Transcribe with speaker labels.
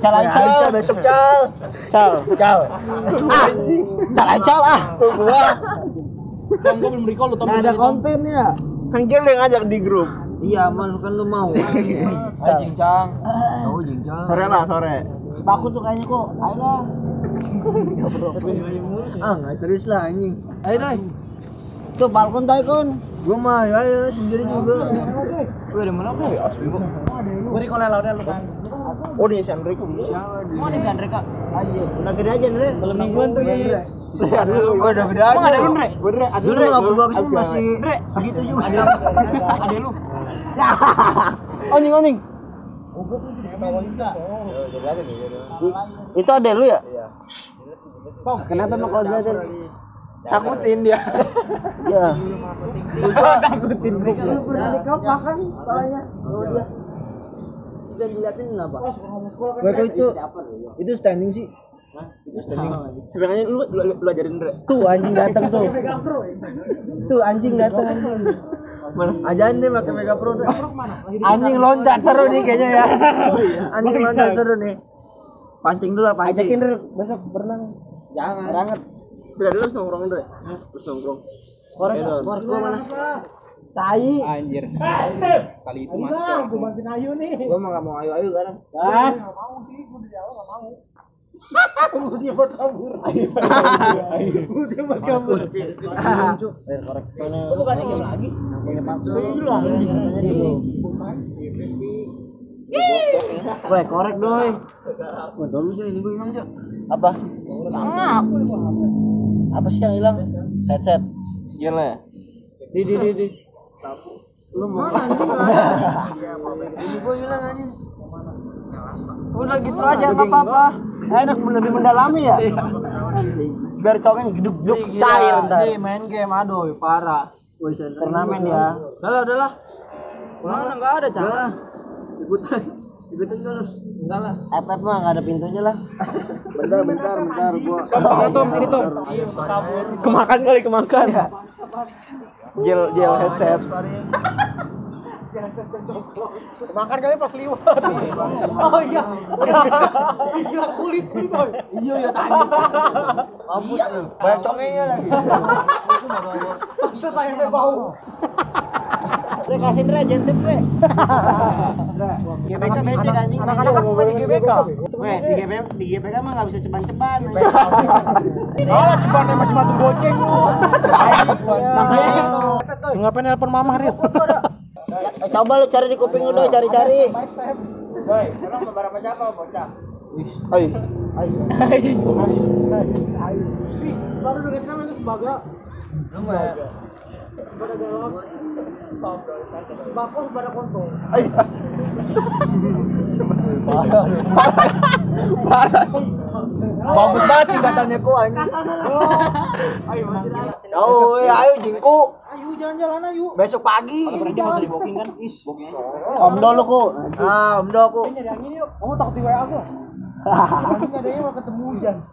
Speaker 1: Cal
Speaker 2: Cal,
Speaker 1: Cal.
Speaker 2: Cal, besok Cal.
Speaker 1: Cal.
Speaker 2: Cal.
Speaker 1: Ah. Cal Cal ah.
Speaker 2: Gua
Speaker 3: Tom gue belum recall lu Tom.
Speaker 4: Nggak ada kompirnya.
Speaker 1: ya?
Speaker 2: kan game yang ngajak di grup.
Speaker 4: Iya, mal kan lu mau.
Speaker 3: Ah, jingjang. Tahu jingjang.
Speaker 2: Sore lah, sore.
Speaker 4: Takut tuh kayaknya kok. Ayolah. ah, nggak serius lah anjing. Ayo deh.
Speaker 1: Tuh balkon tai kon.
Speaker 4: Gua mah ya, ya, sendiri juga.
Speaker 3: Lu dari mana kok?
Speaker 4: Gua di kolel udah lu kan.
Speaker 2: Oh, di Sandrick.
Speaker 1: Iya.
Speaker 3: Mau di Sandra kak?
Speaker 4: Udah gede aja, Andre. Belum mingguan tuh ya.
Speaker 2: Gue udah gede
Speaker 3: Emang ada
Speaker 2: aja.
Speaker 3: lu, Dre?
Speaker 2: Bener, Iya, ada
Speaker 4: Dulu
Speaker 2: Dre.
Speaker 4: waktu gua kesini
Speaker 2: Ada.
Speaker 4: masih
Speaker 3: Dre.
Speaker 4: segitu juga.
Speaker 3: Ada ada lu.
Speaker 1: Anjing anjing. Itu ada lu ya?
Speaker 4: Iya. Kenapa emang kalau dilihatin?
Speaker 2: Takutin dia.
Speaker 1: Iya.
Speaker 4: Lu pernah dikepak kan kepalanya? Oh, iya. Kita dilihatin kenapa?
Speaker 1: kan
Speaker 4: Mereka itu itu standing sih.
Speaker 2: Sebenarnya lu, lu, lu ajarin Dre.
Speaker 4: Tuh anjing datang tuh.
Speaker 1: ya?
Speaker 4: Tuh anjing datang anjing.
Speaker 2: Mana? Ajarin deh pakai Mega Pro. Dre.
Speaker 1: Anjing loncat seru nih kayaknya ya.
Speaker 2: Anjing lu ada seru nih. Pancing dulu lah, pancing.
Speaker 4: Ajakin Dre, besok berenang. Jangan. Banget.
Speaker 2: Dre, dulu harus nongkrong Dre. Terus nongkrong.
Speaker 4: Korek, korek gua mana? Tai.
Speaker 3: Anjir. Kali itu mah.
Speaker 4: Gua mah enggak mau ayu-ayu sekarang. Gas.
Speaker 1: gitu.
Speaker 4: Korek, korek doi. Gua dulu aja ini gua hilang aja.
Speaker 1: Apa? Apa sih yang hilang? Headset.
Speaker 2: Gila ya.
Speaker 4: Di di di di. Lu mau Ini gua hilang anjing.
Speaker 1: Udah gitu aja nggak apa-apa. Enak bener lebih mendalami ya. Biar cowoknya geduk geduk
Speaker 4: Iya,
Speaker 1: cair ntar.
Speaker 4: Nih main game aduh parah.
Speaker 1: Turnamen ya.
Speaker 4: Udah lah, udah lah. Pulang enggak ada, Cak. Udah lah. Ikutan. Ikutan dulu. Enggak lah.
Speaker 1: Epet mah nggak ada pintunya lah.
Speaker 4: Bentar, bentar, bentar gua. Iya,
Speaker 2: Kemakan kali kemakan. Gel gel headset.
Speaker 1: Makan kali pas liwat.
Speaker 4: Oh iya. Gila kulit nih, Boy. Iya, iya tadi. Iya.
Speaker 1: Mampus lu. Banyak congenya lagi.
Speaker 4: Itu sayangnya bau.
Speaker 1: Re kasih Re jensen Re. GBK becek anjing. Iya, Anak-anak kan main di GBK. Weh, di GBK di GBK mah enggak bisa ceban-ceban. Kalau ceban masih batu goceng lu. Iya. Makanya gitu. itu.
Speaker 3: Ngapain nelpon mama Rio?
Speaker 1: Eh, Coba lu cari di kuping lu doi, cari-cari.
Speaker 2: Ay.
Speaker 1: Bagus banget sih katanya kok anjing. eh,
Speaker 2: Oh, ya, ayo jingku.
Speaker 1: Besok pagi.
Speaker 3: Berarti masa di booking kan? Is, booking aja.
Speaker 1: Omdo lu kok.
Speaker 2: Ah, om aku.
Speaker 4: Kamu takut di WA gua. Anjing adanya mau ketemu hujan.